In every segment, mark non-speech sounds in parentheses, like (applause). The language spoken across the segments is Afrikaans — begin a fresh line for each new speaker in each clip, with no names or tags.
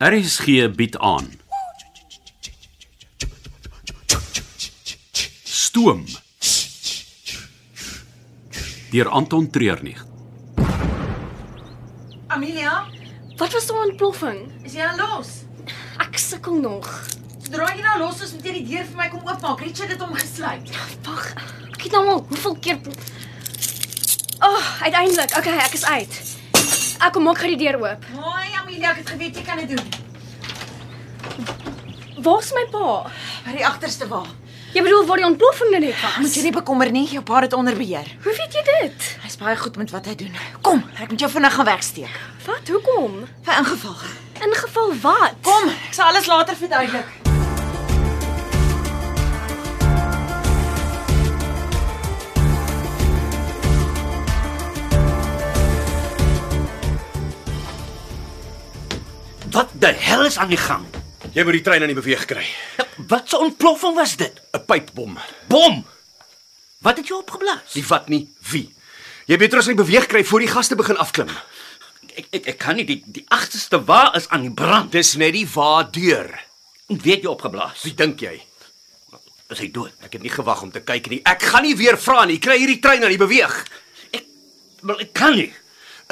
RSG bied aan. Stoom. Deur Anton Treurnig.
Amelia,
Wat was daai ontploffing?
is jy nou los?
Ek sukkel nog.
Sodra jy nou los is, moet jy die deur vir my kom oopmaak. Richard het hom gesluit.
Wag. Ek het nou al hoeveel keer O, oh, uiteindelik. Okay, ek is uit. Ek kom maak gou die deur oop.
Mooi, Amelia, ek het geweet jy kan dit doen.
Waar's my pa?
By die agterste wa.
Jy bedoel waar die ontploffing nou net was?
Moet jy nie bekommer nie, jou pa het onder beheer.
Hoe weet jy dit?
Hy's baie goed met wat hy doen. Kom, ek moet jou vinnig gaan wegsteek
Wat? Hoekom?
vir ingeval.
In geval wat?
Kom, ek sal alles later verduidelik.
Wat die hel is aan die gang? Ja,
Jy moet die trein aan die beweeg kry.
Wat 'n ontploffing was dit?
'n Pypbom.
Bom! Wat het jy opgeblaas?
Die vat nie wie. Jy beter as hy beweeg kry voor die gaste begin afklim.
Ek ek, ek kan nie die die agterste wa is aan die brand.
Dis net die wa deur.
Weet jy opgeblaas?
Wie dink jy?
Is hy dood?
Ek het nie gewag om te kyk nie. Ek gaan nie weer vra nie. Kry hierdie trein aan die beweeg.
Ek wel ek kan nie.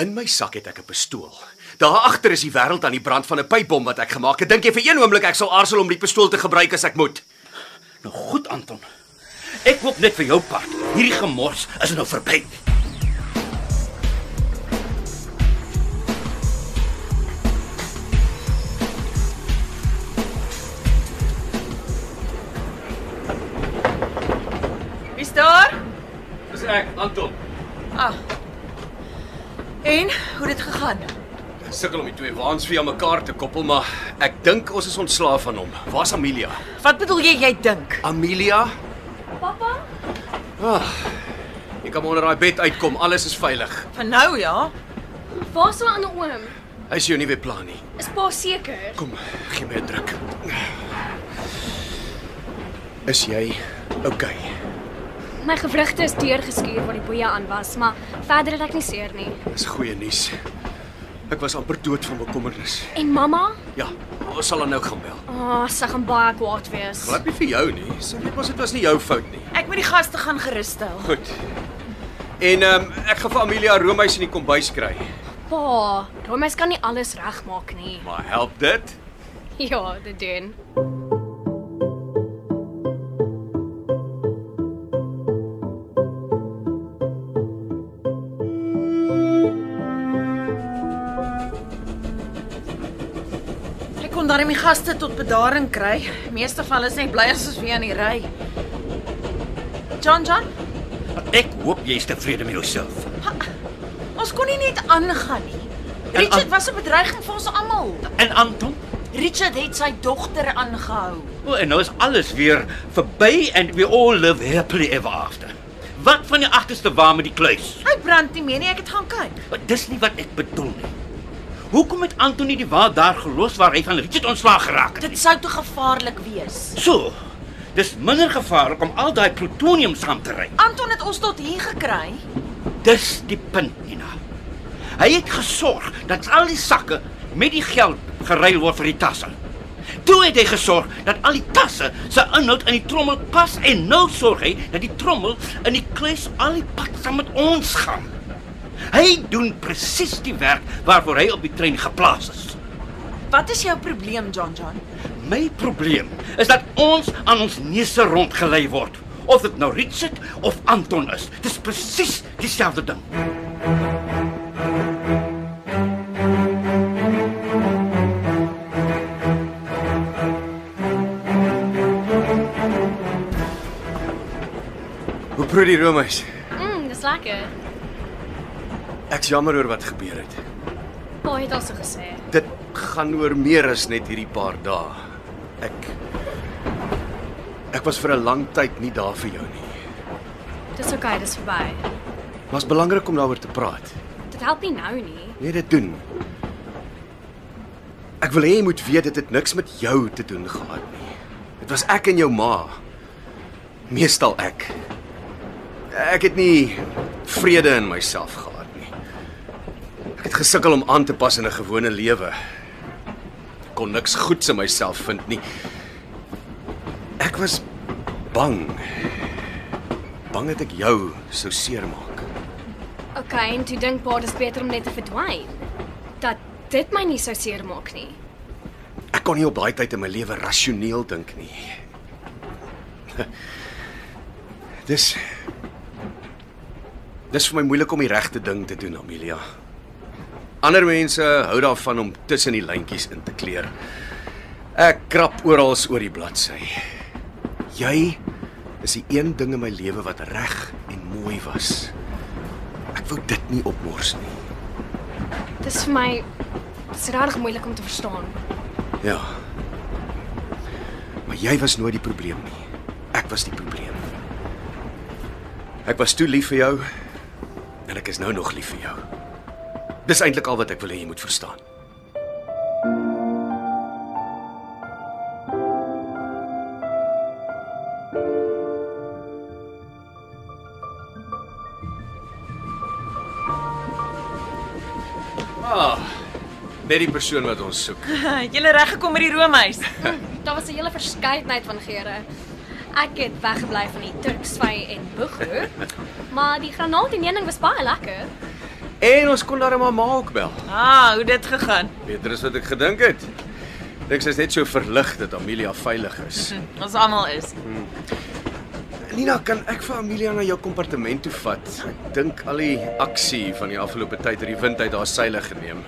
In my sak het ek 'n pistool. Daar agter is die wêreld aan die brand van 'n pypbom wat ek gemaak het. Dink jy vir een oomblik ek sal aarzel om die pistool te gebruik as ek moet?
Nou goed Anton. Ek hoop net vir jou part. Hierdie gemors is nou verby.
Wie's daar?
Dis ek, Anton.
Ah. En hoe het dit gegaan?
Sukkel om die twee waans vir mekaar te koppel, maar ek dink ons is ontslaaf van hom. Waar's Amelia?
Wat bedoel jy jy dink?
Amelia,
Pappa?
jy kan maar onder daai bed uitkom. Alles is veilig.
Van nou ja.
Waar's my ander oom?
Hy's jou nuwe plan nie.
Is pa seker?
Kom, gee my 'n druk. Is jy okay?
My gewrigte is deurgeskuur waar die boeie aan was, maar verder het ek nie seer nie.
Dis goeie nuus. Ek was amper dood van bekommernis.
En mamma?
Ja, ons sal haar nou gaan bel.
Ah, oh, sy gaan baie kwaad wees.
Glad nie vir jou nie. Sy weet mos dit was nie jou fout nie.
Ek moet die gaste gaan gerusstel.
Goed. En ehm um, ek gaan vir Amelia roomys in die kombuis kry.
Pa, Romeis kan nie alles regmaak nie.
Maar help dit?
Ja, dit doen.
Ek kon daarmee gaste tot bedaring kry. Meeste van hulle is net bly as ons weer aan die ry. John John,
Ek hoop jy is tevrede met jouself.
ons kon nie net aangaan nie. Richard was 'n bedreiging vir ons almal.
En Anton?
Richard het sy dogter aangehou.
O, en nou is alles weer verby and we all live happily ever after. Wat van die agterste wa met die kluis?
Hy brand nie meer nie, ek het gaan kyk.
Maar dis nie wat ek bedoel nie. Hoekom het Antoni die waar daar gelos waar hy van Richard ontslaag geraak het?
Dit sou te gevaarlik wees.
so. Dis minder gevaarlik om al daai plutonium saam te ry.
Anton het ons tot hier gekry.
Dis die punt, Nina. Hy het gesorg dat al die sakke met die geld geruil word vir die tasse. Toe het hy gesorg dat al die tasse se inhoud in die trommel pas en nou sorg hy dat die trommel in die kluis al die pad saam met ons gaan. Hy doen presies die werk waarvoor hy op die trein geplaas is.
Wat is jou probleem, John John?
My probleem is dat ons aan ons neuse rondgelei word. Of dit nou Richard of Anton is, dis presies dieselfde ding.
Hoe proe die roomys?
Mm, dis lekker.
Ek's jammer oor wat gebeur het.
Pa het al so gesê.
Dit gaan oor meer as net hierdie paar dae. Ek Ek was vir 'n lang tyd nie daar vir jou nie.
Dis oukei, dis verby.
Maar's belangrik om daaroor te praat.
Dit help nie nou nie.
Nee, dit doen. Ek wil hê jy moet weet dit het niks met jou te doen gehad nie. Dit was ek en jou ma. Meestal ek. Ek het nie vrede in myself gehad nie. Ek het gesukkel om aan te pas in 'n gewone lewe. kon niks goeds in myself vind nie. Ek was bang. Bang dat ek jou sou seermaak.
Okay, en toe dink pa dis beter om net te verdwyn. Dat dit my nie sou seermaak nie.
Ek kon nie op daai tyd in my lewe rasioneel dink nie. Dis Dis vir my moeilik om die regte ding te doen, Amelia. Ander mense hou daarvan om tussen die lyntjies in te kleur. Ek krap oral oor die bladsy. Jy is die een ding in my lewe wat reg en mooi was. Ek wou dit nie opmors nie.
Dis vir my dis regtig moeilik om te verstaan.
Ja. Maar jy was nooit die probleem nie. Ek was die probleem. Ek was toe lief vir jou en ek is nou nog lief vir jou. Dis eintlik al wat ek wil hê jy moet verstaan. Ah, net die persoon wat ons soek.
Julle Ah, reg gekom met die roomhuis.
Daar was 'n hele verskeidenheid van geure. Ek het weggebly van die Turksvy en Boegoe,
(laughs)
maar die granaat en heuning was baie lekker.
En ons kon daarmee ma ook bel.
Ah, hoe dit gegaan.
Beter as wat ek gedink het. Ek is net so verlig dat Amelia veilig is.
Hm, Ons almal is.
(laughs) Nina, kan ek vir Amelia na jou kompartement toe vat? Ek dink al die aksie van die afgelope tyd het die wind uit haar seile geneem.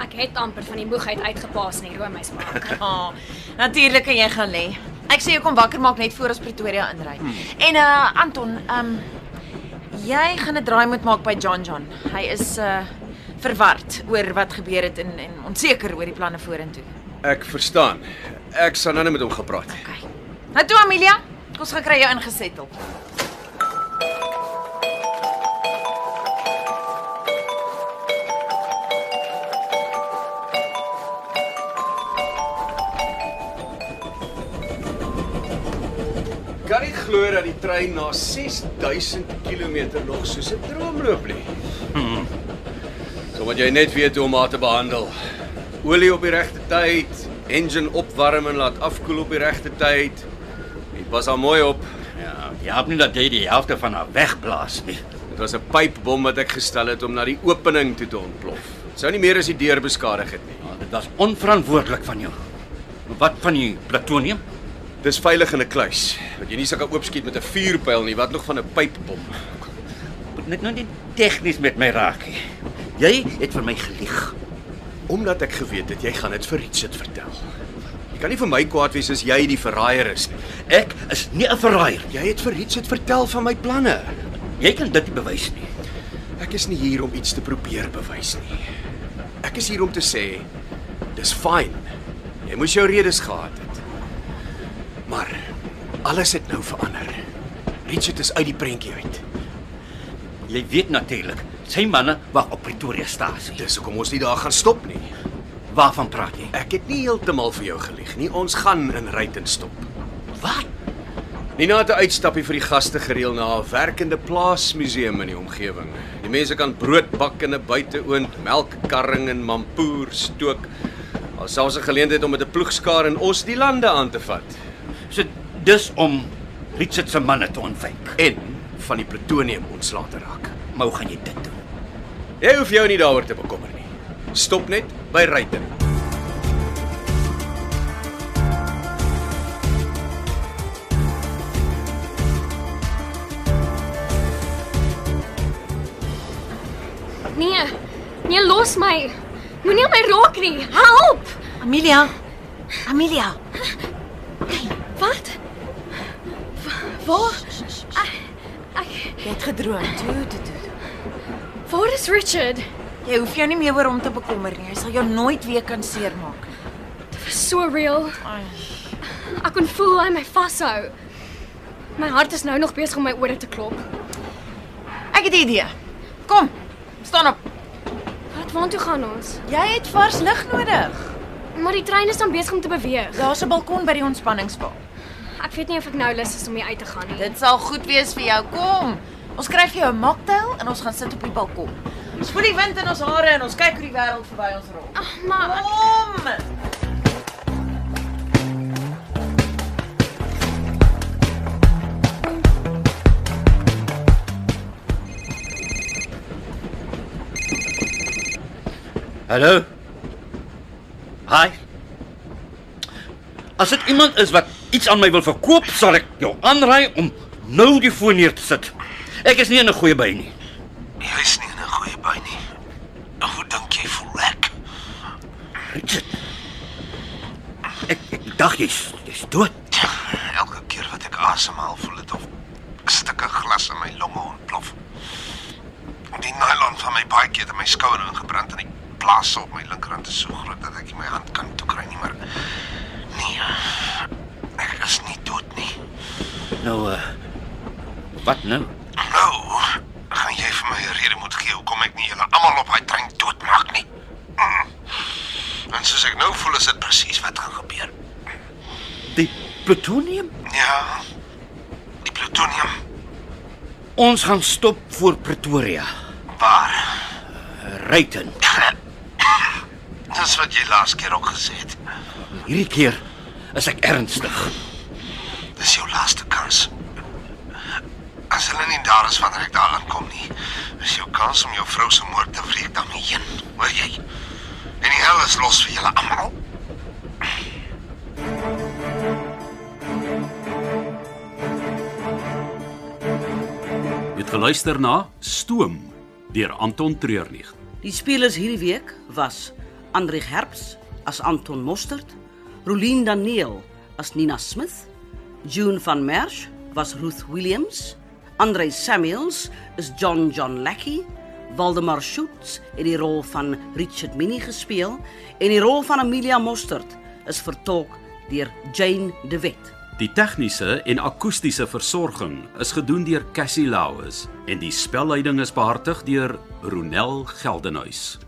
Ek het amper van die moegheid uitgepaas in die roomys maak.
Ah, natuurlik kan jy gaan lê. Ek sê jy kom wakker maak net voor ons Pretoria inry. En uh Anton, ehm jy gaan 'n draai moet maak by John John. Hy is uh verward oor wat gebeur het en en onseker oor die planne vorentoe.
Ek verstaan. Ek sal nou net met hom gepraat.
Okay. Nou toe Amelia, kom ons gaan kry jou ingesettel.
Kan nie glo dat die trein na 6000 km nog soos 'n droom loop nie. Sommige jy net weet hoe om haar te behandel. Olie op die regte tyd, engine opwarm en laat afkoel op die regte tyd. Jy pas haar mooi op.
Ja, jy help nie dat jy die helfte van haar wegblaas nie.
Dit was 'n pypbom wat ek gestel het om na die opening toe te ontplof. Dit sou nie meer as die deur beskadig het nie.
Maar Ja, dit was onverantwoordelik van jou. Wat van die plutonium?
Dis veilig in 'n kluis. Wat jy nie sulke oopskiet met 'n vuurpyl nie, wat nog van 'n pypbom.
Moet net nou nie tegnies met my raak nie. Jy het vir my gelieg.
Omdat ek geweet het jy gaan dit vir Richard vertel. Jy kan nie vir my kwaad wees as jy die verraaier is nie.
Ek is nie 'n verraaier nie.
Jy het vir Richard vertel van my planne.
Jy kan dit nie bewys nie.
Ek is nie hier om iets te probeer bewys nie. Ek is hier om te sê dis fyn. Jy moes jou redes gehad het. Maar alles het nou verander. Richard is uit die prentjie uit.
Jy weet natuurlik, sy manne wag op Pretoria stasie.
Dis hoekom ons nie daar gaan stop nie.
Waarvan praat jy?
Ek het nie heeltemal vir jou gelieg nie. Ons gaan in Ryten stop.
Wat?
Nina het 'n uitstappie vir die gaste gereël na 'n werkende plaasmuseum in die omgewing. Die mense kan brood bak in 'n buiteoond, melkkarring en mampoer stook. Daar selfs 'n geleentheid om met 'n ploegskaar in Os die lande aan te vat
So dis om Richard se manne te ontwyk.
en van die plutonium ontslae te raak.
Maar hoe gaan jy dit doen?
Jy hoef jou nie daaroor te bekommer nie. Stop net by Ryten.
Nee. Nee, los my. Moenie aan my raak nie. Help!
Amelia. Amelia.
Wat? Wa- Waar? Ek,
Jy het gedroom. Toe, toe, toe.
ek Waar is Richard?
Jy hoef jou nie meer oor hom te bekommer nie. Hy sal jou nooit weer kan seermaak.
So real.
Ai.
Ek kon voel hoe hy my vashou. My hart is nou nog besig om my ore te klop.
Ek het 'n idee. Kom. Staan op.
Wat waartoe gaan ons?
Jy het vars lug nodig.
Maar die trein is dan besig om te beweeg.
Daar's 'n balkon by die ontspanningspaal.
Ek weet nie of ek nou lus is om hier uit te gaan nie.
Dit sal goed wees vir jou. Kom. Ons kry vir jou 'n mocktail en ons gaan sit op die balkon. Ons voel die wind in ons hare en ons kyk hoe die wêreld verby ons rol.
Ag, maar
Kom.
Hallo. Hi. As dit iemand is wat iets aan my wil verkoop, sal ek jou aanraai om nou die foon neer te sit. Ek is nie in 'n goeie by nie.
Jy's nie in 'n goeie by nie. Hoe dink jy voel ek?
Richard. Ek, ek dink jy's jy's dood.
Tja, Elke keer wat ek asemhaal, voel dit of stukke glas in my longe ontplof. En die nylon van my baadjie het in my skouer ingebrand en die blaas op my linkerhand is so groot dat ek nie my hand kan toekry nie, maar nee. Ek is nie dood nie.
Nou uh wat nou?
Nou, gaan jy vir my 'n rede moet gee hoekom ek nie julle almal op daai trein doodmaak nie. Mm. En soos ek nou voel, is dit presies wat gaan gebeur.
Die plutonium?
Ja. Die plutonium
Ons gaan stop voor Pretoria.
waar?
Ryten.
Dis wat jy laas keer ook gesê het.
Hierdie keer is ek ernstig.
Dis jou laaste kans. As hulle nie daar is wanneer ek daar aankom nie, is jou kans om jou vrou se moord te wreek daarmee heen, hoor jy? En die hel is los vir julle almal.
Jy het geluister na Stoom deur Anton Treurnig.
Die spelers hierdie week was Andrich Herps as Anton Mostert, Rolien Daniel as Nina Smith, June van Merch was Ruth Williams, Andre Samuels is John John Lackey, Waldemar Schutz het die rol van Richard Minnie gespeel en die rol van Amelia Mostert is vertolk deur Jane de Wet.
Die tegniese en akoestiese versorging is gedoen deur Cassie Lauis en die spelleiding is behartig deur Ronel Geldenhuys.